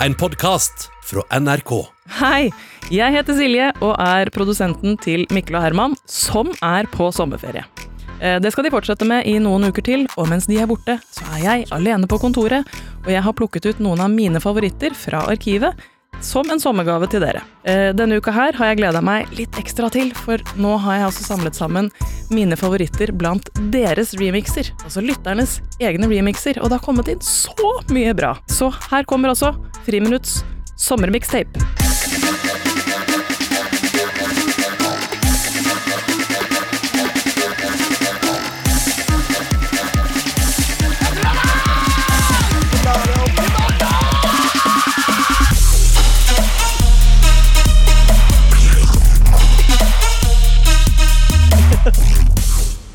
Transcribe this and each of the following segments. En podkast fra NRK. Hei, jeg heter Silje og er produsenten til Mikkel og Herman, som er på sommerferie. Eh, Det skal de fortsette med i noen uker til, og mens de er borte, så er jeg alene på kontoret, og jeg har plukket ut noen av mine favoritter fra arkivet som en sommergave til dere. Eh, Denne uka her har jeg gleda meg litt ekstra til, for nå har jeg altså samlet sammen mine favoritter blant deres remixer, altså lytternes egne remixer, og det har kommet inn så mye bra. Så her kommer altså også Friminutts sommermikstape.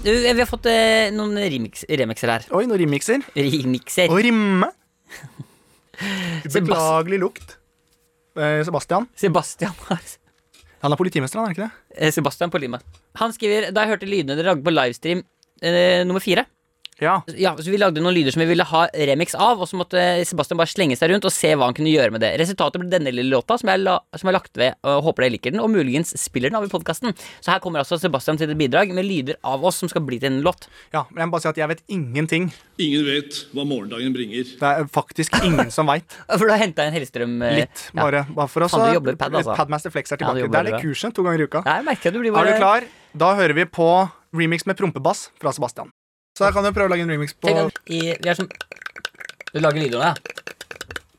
Du, vi har fått eh, noen remix, remixer her. Oi, noen remixer. Remixer. Og rimme. Sebast- Beklagelig lukt. Eh, Sebastian. Sebastian har- Han er politimester, han er ikke det? eh, Sebastian på Lima. Han skriver Da jeg hørte lydene dere lagde på livestream eh, nummer fire Ja. ja, så Vi lagde noen lyder som vi ville ha remix av, og så måtte Sebastian bare slenge seg rundt og se hva han kunne gjøre med det. Resultatet ble denne lille låta, som jeg, la, som jeg har lagt ved. Og jeg håper dere liker den, og muligens spiller den av i podkasten. Så her kommer altså Sebastian til et bidrag med lyder av oss som skal bli til en låt. ja. Men jeg må bare si at jeg vet ingenting. Ingen vet hva morgendagen bringer. Det er faktisk ingen som veit. For du har henta en Hellstrøm eh, Litt, bare. bare for oss. Faen, du jobber pad, Litt altså. Padmaster Flex er Ja, du tilbake. jobber det er det bra. kurset to ganger i uka. Ja, jeg merker at du blir Er bare du klar? Da hører vi på remix med prompebass fra Sebastian. Så her kan du prøve å lage en remix på Tenk at i, vi er som Du lager lyder nå, ja?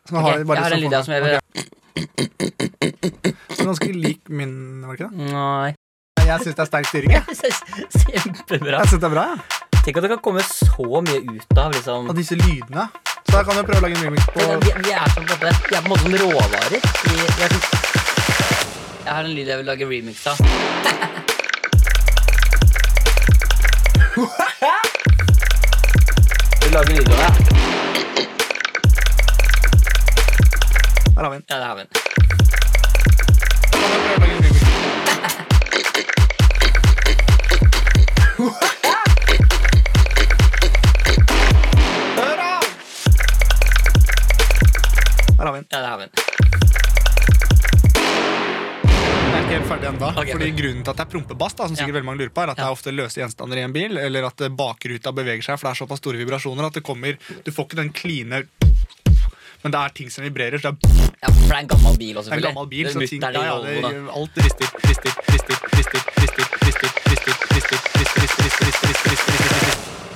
som har Ok, bare jeg har en sånn- lyd her som jeg vil Ok. Ganske lik min, var det ikke det? Nei. Jeg syns det er sterk styring. Jeg, Kjempebra. jeg synes det er bra, ja. Tenk at det kan komme så mye ut av liksom Og disse lydene. Så her kan du prøve å lage en remix Vi, på vi, er som, på en måte- vi er på en måte som råvarer. Vi, vi er som, jeg har en lyd jeg vil lage remix av. Vil du lage lyd av det? Her har vi den. Ja, det har vi. Her har vi den. Ja, det har vi. Jeg er ikke helt ferdig ennå. Ok, Fordi ok. grunnen til at det er prompebass, da, som sikkert Ja. veldig mange lurer på, er at det er ofte løse gjenstander i en bil, eller at eh, bakruta beveger seg, for det er såpass store vibrasjoner at det kommer Du får ikke den kline Men det er ting som vibrerer, så det er, Ja, for det er en gammel bil også, det er en selvfølgelig. gammel bil. Det er Så ting, mutteren i ja, ja, det, Volvoen, da. alt rister, rister, rister, rister, rister, rister, rister, rister, rister, rister, rister, rister, rister, rister, rister, rister.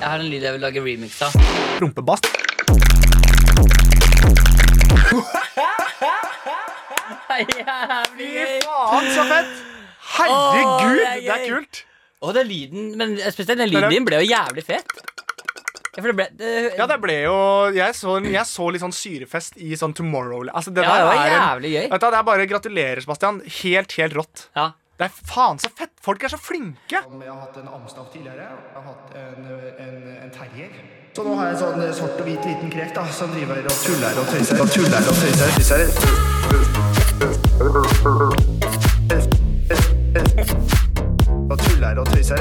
Jeg har en lyd jeg vil lage remix av. Prompebass. Jævlig gøy! Faen, så fett! Åh, Herregud, det er det er gøy. kult! Å, den lyden Men spesielt den lyden Det er- din ble jo jævlig fet. Ja, for det ble det, Ja, det ble jo Jeg så, jeg så litt sånn syrefest i sånn Tomorrow Altså, det Ja, det der var er en jævlig gøy. Vet du, hva, det er bare gratulerer, Sebastian. Helt, helt rått. Ja. Det er faen så fett! Folk er så flinke! Jeg har hatt en amstav tidligere. Jeg har hatt en, en, en terrier. Så nå har jeg en sånn eh, svart og hvit liten krek da, som driver og tuller og tøyser. Og tuller og tøyser. tøyser. Og tuller og tøyser.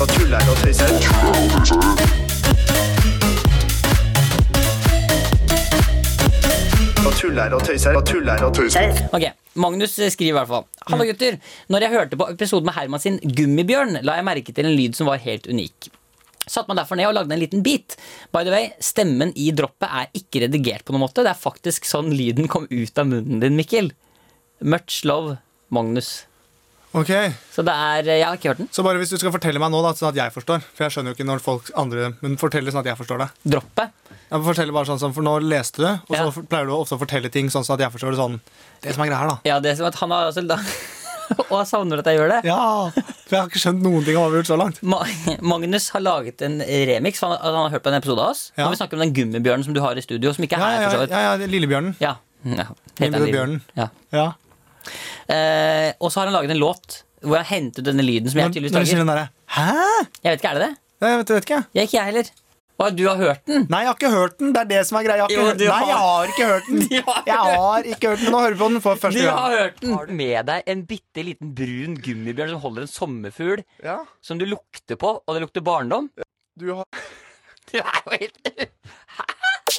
Og tuller og tøyser. Og tuller og tøyser. Og tuller og tøyser. Ok, Magnus eh, skriver i hvert fall. Hallo, gutter. Når jeg hørte på episoden med Herman sin Gummibjørn, la jeg merke til en lyd som var helt unik. Satte meg derfor ned og lagde en liten bit. By the way, Stemmen i droppet er ikke redigert på noen måte. Det er faktisk sånn lyden kom ut av munnen din, Mikkel. Much love, Magnus. Ok, Så det er eh, Jeg har ikke hørt den. Så bare hvis du skal fortelle meg nå, da, sånn at jeg forstår For jeg skjønner jo ikke når folk andre Men fortell det sånn at jeg forstår det. Droppet. Jeg forteller bare sånn som, For nå leste du, og Ja. så pleier du ofte å fortelle ting sånn sånn at jeg forstår det sånn Det som er greia her, da. Ja, det er som at han har altså da Og jeg savner at jeg gjør det. Ja! For jeg har ikke skjønt noen ting av hva vi har gjort så langt. Ma- Magnus har laget en remix. for Han, altså, han har hørt på en episode av oss. Ja. Når vi snakker om den gummibjørnen som du har i studio, som ikke er Ja, her. ja, for så ja, vidt. ja, ja Lillebjørnen. Ja. ja. Heter Mindre han bjørnen. Ja. Ja. Eh, og så har han laget en låt hvor han hentet denne lyden som jeg Når, tydeligvis når du sier lager. den derre Hæ? Jeg vet ikke, er det det? Jeg vet, vet ikke, jeg. Jeg er ikke jeg heller. Å, du har hørt den? Nei, jeg har ikke hørt den. Det er det som er greia. Jeg har Jo, ikke hørt. du Nei, jeg har- har ikke hørt den. Du har Jeg har ikke hørt den, men nå hører vi på den for Du første har gang. hørt den! Har du med deg en bitte liten brun gummibjørn som holder en sommerfugl, Ja, som du lukter på, og det lukter barndom? du har... Du er jo helt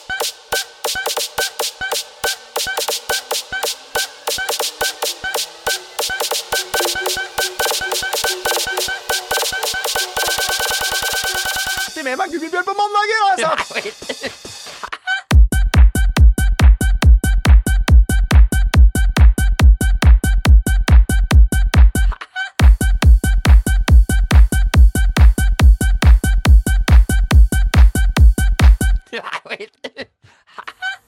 alltid med meg gummibjørn på mandager, har jeg sagt!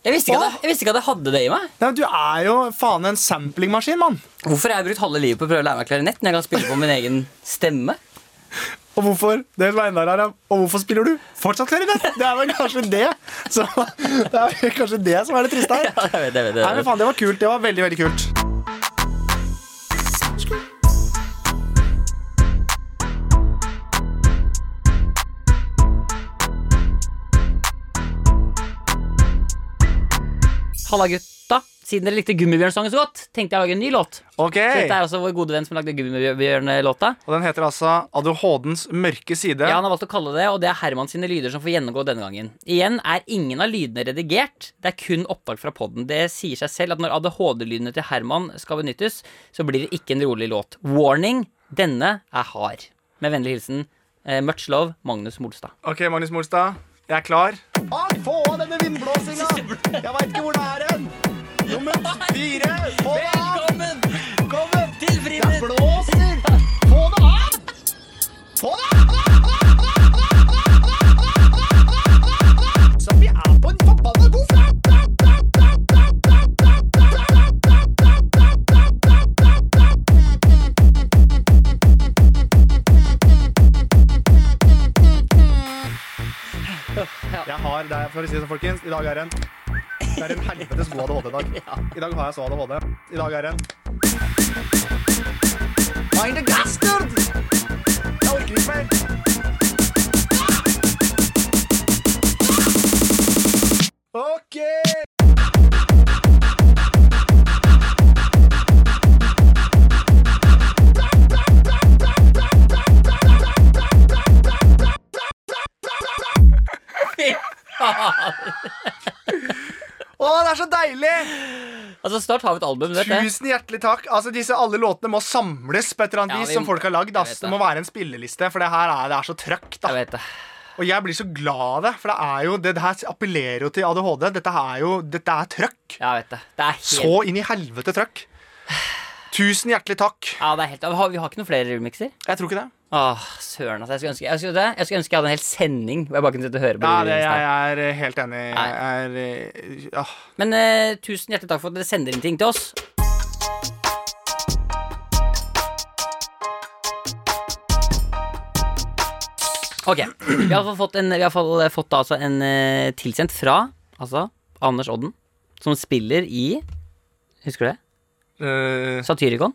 Jeg visste, ikke at jeg, jeg visste ikke at jeg hadde det i meg. Nei, men du er jo faen en samplingmaskin, mann. Hvorfor har jeg brukt halve livet på å prøve å lære meg klarinett når jeg kan spille på min egen stemme? Og hvorfor det som er enda rarere, og hvorfor spiller du fortsatt klarinett? Det er vel kanskje det som, det er vel kanskje det som er det triste her. Ja, jeg vet, jeg vet, Nei, jeg men vet. faen, det var kult. Det var veldig, veldig kult. Halla, gutta. Siden dere likte Gummibjørnsangen så godt, tenkte jeg å lage en ny låt. Ok, Så Dette er også vår gode venn som lagde Gummibjørn-låta. og den heter altså ADHDens mørke side. Ja, han har valgt å kalle det, og det er Herman sine lyder som får gjennomgå denne gangen. Igjen er ingen av lydene redigert, det er kun opptak fra podden. Det sier seg selv at når ADHD-lydene til Herman skal benyttes, så blir det ikke en rolig låt. Warning, denne er hard. Med vennlig hilsen eh, much love, Magnus Molstad. Ok, Magnus Molstad, jeg er klar. få av denne vindblåsinga! Jeg veit ikke hvor det er hen! Nummer fire! Få det av! Velkommen til friminutt! Det blåser! Få det av! Få det av! Så vi er på en forbanna god Jeg har, det er, for å si det sånn, folkens, i dag er det en Det er en helvetes god ADHD-dag. I dag har jeg så ADHD. I dag er det en Meine Gasterd! Jeg orker ikke mer. OK! Å, det er så deilig! Altså, snart har vi et album, vet du. Tusen hjertelig takk. Altså, disse Alle låtene må samles på et eller annet Ja, vis vi- som folk har lagd. Jeg ass. vet Det det. må være en spilleliste, for det her er, det er så trøkk. da Jeg vet det. Og jeg blir så glad av det, for det er jo Det her appellerer jo til ADHD. Dette er jo Dette er trøkk. Jeg vet det. Det er helt Så inn i helvete trøkk. Tusen hjertelig takk. Ja, det er helt Har- Vi har ikke noen flere remixer. Jeg tror ikke det. Åh, søren, altså. Jeg skulle ønske jeg, skulle, jeg, skulle ønske jeg hadde en hel sending hvor jeg bare kunne sitte og høre på Ja, de det remixene. jeg er helt enig. Jeg er eh, ah. Men eh, tusen hjertelig takk for at dere sender inn ting til oss. Ok, vi har i hvert fall fått, en, vi har i hvert fall fått da, altså, en eh, tilsendt fra altså, Anders Odden, som spiller i Husker du det? Eh, Satyricon.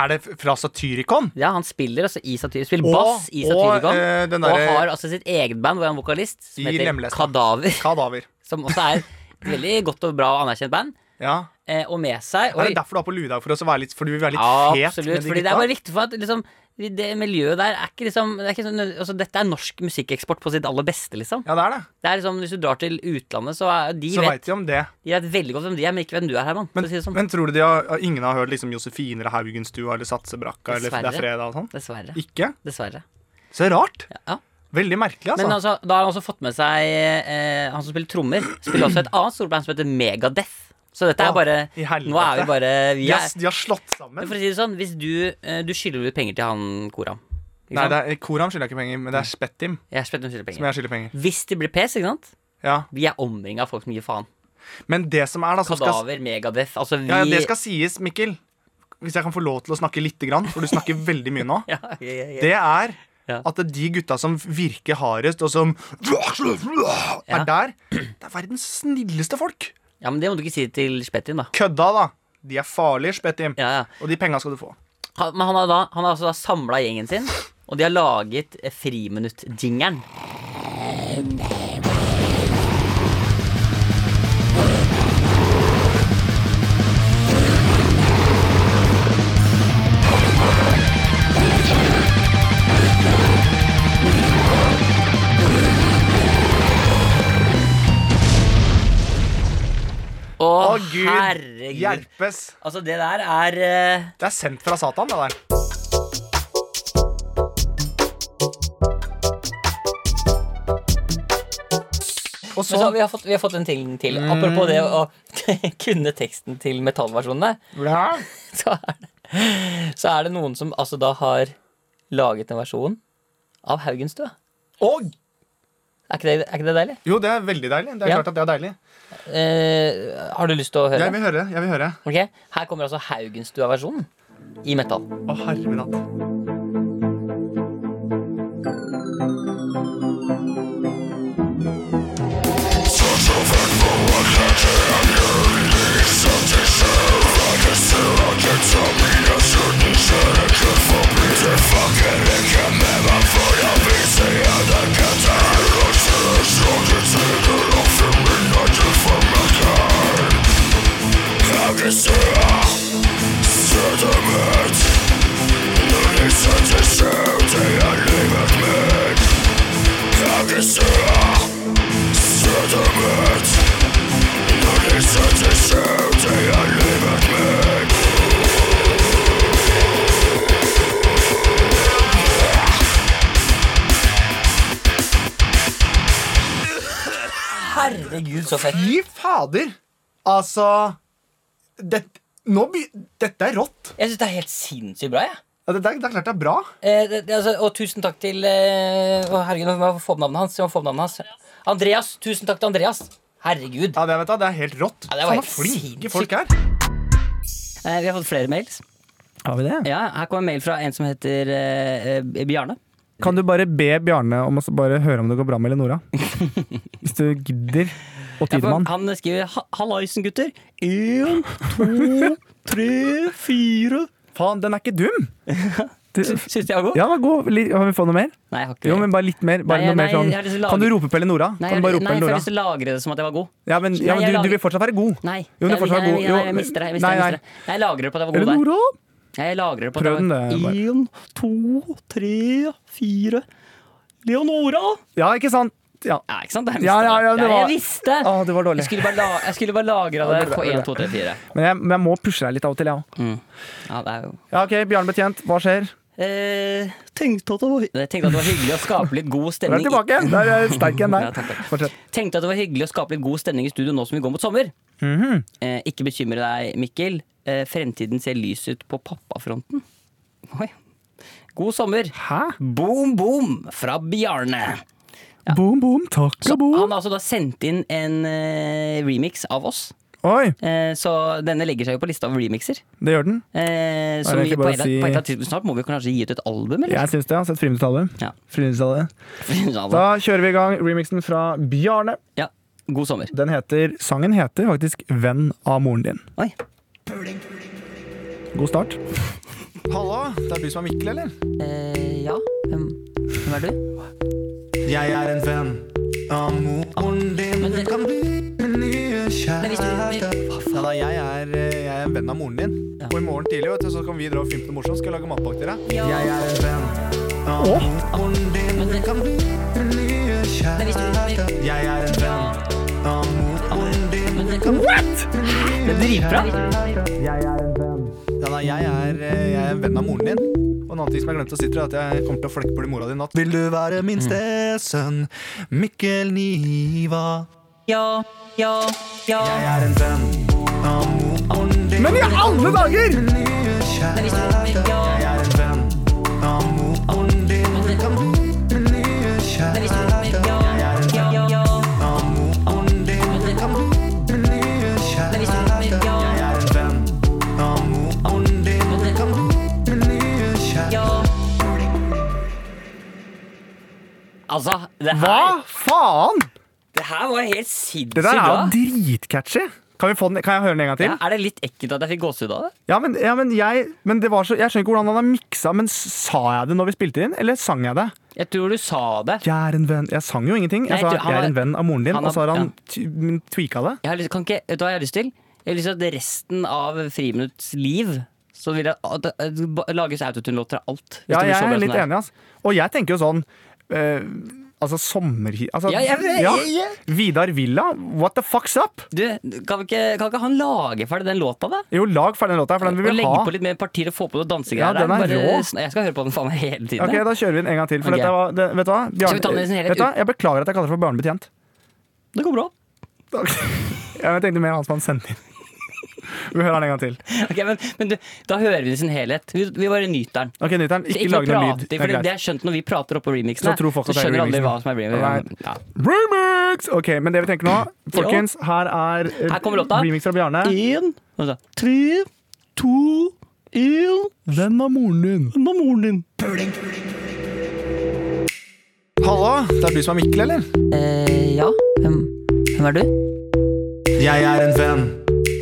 Er det fra Satyricon? Ja, han spiller altså i Satyr, spiller Og- bass i og, Satyricon. Og, eh, den derre- har altså sitt eget band hvor han er vokalist, som I heter Lemlesta. Kadaver. Kadaver. Som også er et veldig godt og bra og anerkjent band. Ja. Eh, og med seg Er oi, det derfor du har på lue i dag? For, oss å være litt, for du vil være litt fet? Absolutt. med de fordi det gutta? er bare viktig for at liksom, det miljøet der er ikke liksom det er ikke sånn, altså, Dette er norsk musikkeksport på sitt aller beste, liksom. Ja, det er det. Det er liksom Hvis du drar til utlandet, så er de Så vet, veit de om det. de vet veldig godt hvem de er, men ikke hvem du er, Herman. Men, for å si det sånn. men tror du de har, ingen har hørt liksom Josefiner og Haugenstua eller Satsebrakka eller Det er Dessverre. fredag og sånn? Dessverre. Ikke? Dessverre. Så rart. Ja. Veldig merkelig, altså. Men altså, da har han også fått med seg eh, han som spiller trommer. Spiller også et annet storband som heter Megadeth. Så dette Å, er bare i helvete. Nå er vi bare vi de, er, har, de har slått Men sammen. For å si det sånn, hvis du, eh, du skylder ut penger til han Koram ikke Nei, sant? det er, Koram skylder jeg ikke penger, men det er Spettim Jeg spør om du skylder som penger. jeg skylder penger. Hvis de blir pes, ikke sant? Ja. Vi er omringa av folk som gir faen. Men det som er, da som skal, Kadaver, Megadeth. Altså, vi ja, ja, Det skal sies, Mikkel, hvis jeg kan få lov til å snakke lite grann, for du snakker veldig mye nå, ja, ja, ja, ja. det er Ja. at de gutta som virker hardest, og som er der, det er verdens snilleste folk. ja, men det må du ikke si til Spettin, da. Kødda, da. De er farlige, Spettim. Ja, ja. Og de penga skal du få. Han, men han har, da, han har altså da samla gjengen sin, og de har laget eh, friminutt-jingeren. Å, Å, gud herregud. hjelpes. Altså, det der er eh, Det er sendt fra Satan, det der. Og Men så, så vi, har fått, vi har fått en til til. Apropos det å å kunne teksten til metallversjonene, Ja. så er det, så er det noen som altså da har laget en versjon av Haugenstua. Og Er ikke det, er ikke det deilig? Jo, det er veldig deilig. Det er Ja. klart at det er deilig. Eh, har du lyst til å høre? Jeg vil høre. jeg vil høre Ok, Her kommer altså Haugenstua-versjonen i metal. Å, herre min hatt. Herregud, så fett. Fy fader! Altså det, nå, by- Dette er rått. Jeg syns det er helt sinnssykt bra. jeg Ja, det, det, er- det er klart det er bra. Eh, det, det, altså, og tusen takk til eh, Å, herregud, nå må jeg få opp navnet hans. Jeg må få opp navnet hans. Andreas. Tusen takk til Andreas. Herregud. Ja, Det, vet du, det er helt rått. Ja, det var Faen, helt så flinke sinnssykt. folk er. Eh, vi har fått flere mails. Har vi det? Ja, Her kommer en mail fra en som heter eh, eh, Bjarne. Kan du bare be Bjarne om å s- bare høre om det går bra med Eleonora? Hvis du gidder. Og Tidemann. Han skriver "Ha- 'Hallaisen, gutter'. Én, to, tre, fire Faen, den er ikke dum! Du, Syns jeg var god? ja, den var god. Litt- Har vi fått noe mer? Nei, jeg har ikke Jo, men bare litt mer. Bare Nei, noe nei, mer sånn. jeg har lyst til å lage- Kan du rope på Eleonora? Nei, Kan du jeg, bare rope nei, på jeg får Eleonora? lyst til å lagre det som at jeg var god. Ja, men, Nei, ja, jeg men du, lager- du vil fortsatt være god. Nei, Jo, men du jeg, er fortsatt jeg, god. jeg, Jo, jeg, jeg mister det. Jeg, mister, nei, det, nei. jeg, mister det. jeg lagrer det på at jeg var god der. Eleonora! Jeg lagrer det på Prøv den, at jeg var det, Én, to, tre, fire Leonora! Ja, ikke sant? Ja. Ja, ikke sant? Jeg Ja, visste ja, ja, det var- Jeg visste! Å, det var Jeg dårlig. skulle bare, la, jeg skulle bare lagre det det er på bra. 1, 2, 3, 4. Men jeg, men jeg må pushe deg litt av og til, jeg Mm. òg. Ja, det er jo Ja, OK, Bjarne Betjent, hva skjer? eh, tenkte, at det var, jeg tenkte at det var hyggelig å skape litt god Du er stemning. tilbake! Der er jeg sterk igjen, Ja, takk, der. takk. Fortsett. Tenkte at det var hyggelig å skape litt god stemning i studio nå som vi går mot sommer. Mhm. eh, ikke bekymre deg, Mikkel. Eh, fremtiden ser lys ut på pappafronten. Oi. God sommer. Hæ? Boom, boom fra Bjarne. Boom, boom, takka Han boom. har altså da sendt inn en eh, remix av oss. Oi, Eh, så denne legger seg jo på lista over remixer. det gjør den. Eh, som vi det egentlig på, bare et- å si- på et eller annet tidspunkt snart må vi kanskje gi ut et album, eller? Jeg syns det. Jeg har sett Friminuttsalbum. Ja. Friminuttsalbum. Da Ja. kjører vi i gang remixen fra Bjarne. ja. God sommer. Den heter, sangen heter faktisk 'Venn av moren din'. Oi. God start. Hallo, det er du som er Mikkel, eller? Eh, ja. Hvem, hvem er du? Jeg er en venn av moren din. Men Du det- kan bli min nye Men hvis kjære. du, Ja, da, jeg, er, eh, jeg er en venn av moren din. Og i morgen tidlig vet du, så kan vi dra og filme noe morsomt. Skal jeg lage matpakke til deg? Jeg er en venn av moren din. Du kan bli min nye kjære. Jeg er en venn av moren din. Du kan bli min nye dritbra. kjære. Jeg er en venn. Ja, da, jeg, er, eh, jeg er en venn av moren din. Og en annen ting som jeg glemte å si til deg, er at jeg kommer til å flekke på din mora di i natt. Vil du være min stesønn, Mikkel Niva? Ja, ja, ja. Jeg er en venn av moren din. Men i alle dager! Min nye kjære. Jeg er en venn av moren din. Du kan bli min nye kjære. Jeg er en venn av moren din. Du kan bli min nye kjære. Jeg er en venn av moren din. Du kan bli min nye kjære. Altså, det her, Hva faen?! det her var helt Det sinnssykt der er bra. jo dritcatchy. Kan, vi få den, kan jeg høre den en gang til? Ja, er det litt ekkelt at jeg fikk gåsehud av det? Ja, men, ja, men, jeg, men det var så, Jeg skjønner ikke hvordan han har miksa, men sa jeg det når vi spilte inn, eller sang jeg det? Jeg tror du sa det. Jeg er en venn Jeg sang jo ingenting. Jeg Nei, sa jeg tror han 'jeg er en har- venn av moren din', han og så har har- han t- men tweaka det. Jeg har lyst, kan ikke, vet du hva jeg har lyst til? Jeg har lyst til at resten av Friminutts liv så vil jeg at det- at det ba- lages autotune-låter av alt. hvis Ja, det blir jeg så bra er som litt det er. enig, ass. Og jeg tenker jo sånn eh, Altså sommerhi... Altså, Ja, jeg- jeg- ja. Vidar Villa, what the fuck's up? Du, kan, vi ikke, kan ikke han lage ferdig den låta, da? Jo, lag ferdig den låta, her, for den Og vil vi legge ha. på litt mer partier og få på noe dansegreier. Ja, den er der. rå. sn- jeg skal høre på den faen meg hele tiden. Ok, jeg. Da kjører vi den en gang til. For Ok. dette var, det, vet du hva? Skal vi ta den i sin helhet vet du hva? Jeg beklager at jeg kaller det for barnebetjent. Det går bra. Ja, men Jeg tenkte mer han som han sendte inn. Vi hører den en gang til. Ok, men men du, da hører vi den i sin helhet. Vi, vi bare nyter den. Ok, Nyteren, Så ikke, lag noe prate, lyd. For er det, greit. det er skjønt når vi prater oppå remixene. Så tror folk at det er skjønner alle remixen. hva som er remixen. Right. Ja. Remix! Ok, men det vi tenker nå Folkens, her er eh, Her kommer låta. remix fra Bjarne. En, og så tre, to, en Venn av moren din. Nå moren din. Hallo, det er du som er Mikkel, eller? Eh, ja. Hvem, hvem er du? Jeg er en venn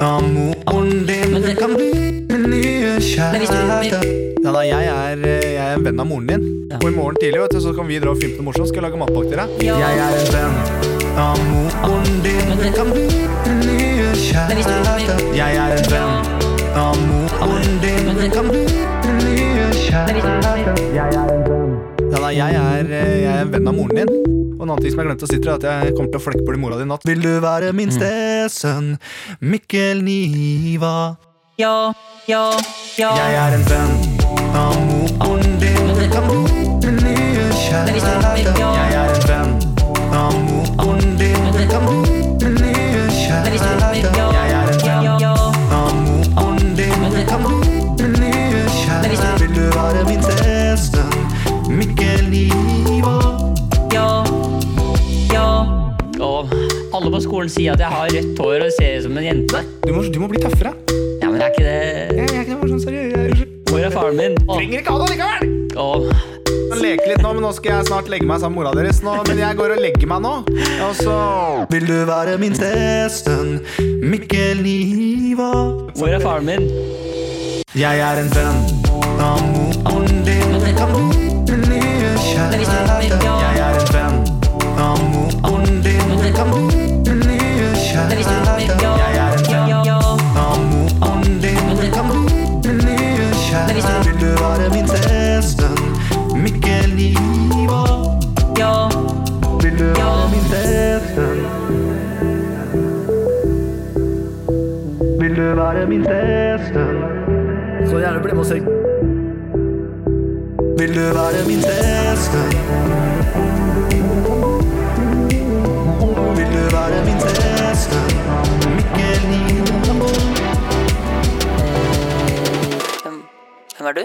av moren din. Ah, Men det- Du kan bli min nye Men hvis du- kjæreste. Ja da, jeg er, eh, jeg er en venn av moren din. Ja. Og i morgen tidlig vet du, så kan vi dra og filme noe morsomt. Skal jeg lage matpakke til deg? Jeg er en venn av moren din. Men Du det- kan bli min nye hvis du- kjæreste. Jeg er en venn av moren din. Men Du det- kan bli min nye kjæreste. Jeg er en venn. Ja da, jeg er, eh, jeg er en venn av moren din. Og en annen ting som jeg glemte å si til deg, er at jeg kommer til å flekke på din mora di i natt. Vil du være min stesønn, Mikkel Niva? Ja, ja, ja. Jeg er en venn av moren din. Du kan bli min nye kjæreste. Jeg er en venn av moren din. Du kan bli min nye kjæreste. Jeg er en venn av moren din. Du kan bli min nye kjæreste. Vil du være min stesønn, Mikkel Niva? Ja. Ja. Og alle på skolen sier at jeg har rødt hår og ser ut som en jente. Du må, du må bli tøffere. Ja, men er ikke det Jeg, jeg, jeg, jeg, sånn jeg, jeg, jeg Hvor er faren min? Å, trenger ikke ha det likevel! å. Jeg kan leke litt nå, men nå skal jeg snart legge meg sammen med mora deres. Nå, men jeg går og legger meg nå. Og så Vil du være min stesønn, Mikkel Niva? Hvor er faren min? Jeg er en venn av moren din. Du kan bli min nye kjæreste. Jeg er en venn av moren din. Du kan bli min nye kjæreste. Jeg er en venn av moren din. Du kan bli min nye kjæreste. Vil du være min stesønn, Mikkel Niva? Vil du være min stesønn? Vil du være min stesønn? Så gjerne bli med og se Vil du være min stesønn? Vil du være min stesønn? Mikkel Niva. Hvem er du?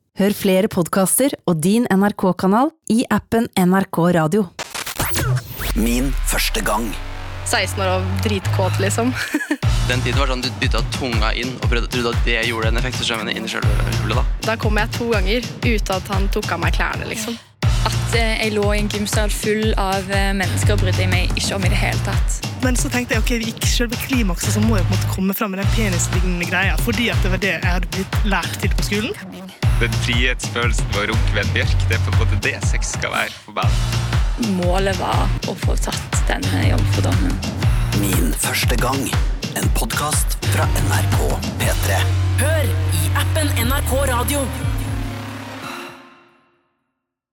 Hør flere podkaster og din NRK-kanal i appen NRK Radio. 16 år og dritkåt, liksom. Den tiden var sånn du dytta tunga inn og prøvde, trodde at det gjorde en effekt, så skjøv den inn i sjølve hullet. da. Da kom jeg to ganger uten at han tok av meg klærne, liksom. At eh, jeg lå i en gymsal full av eh, mennesker brydde jeg meg ikke om i det hele tatt. Men så tenkte jeg ok, ikke selve klimakset, så må jeg på en måte komme fram med den penislignende greia. Fordi at det var det jeg hadde blitt lært til på skolen. Den frihetsfølelsen ved å runke ved en bjørk, det er på en måte det sex skal være for meg. Målet var å få tatt denne jomfrudommen. Min første gang. En podkast fra NRK P3. Hør i appen NRK Radio.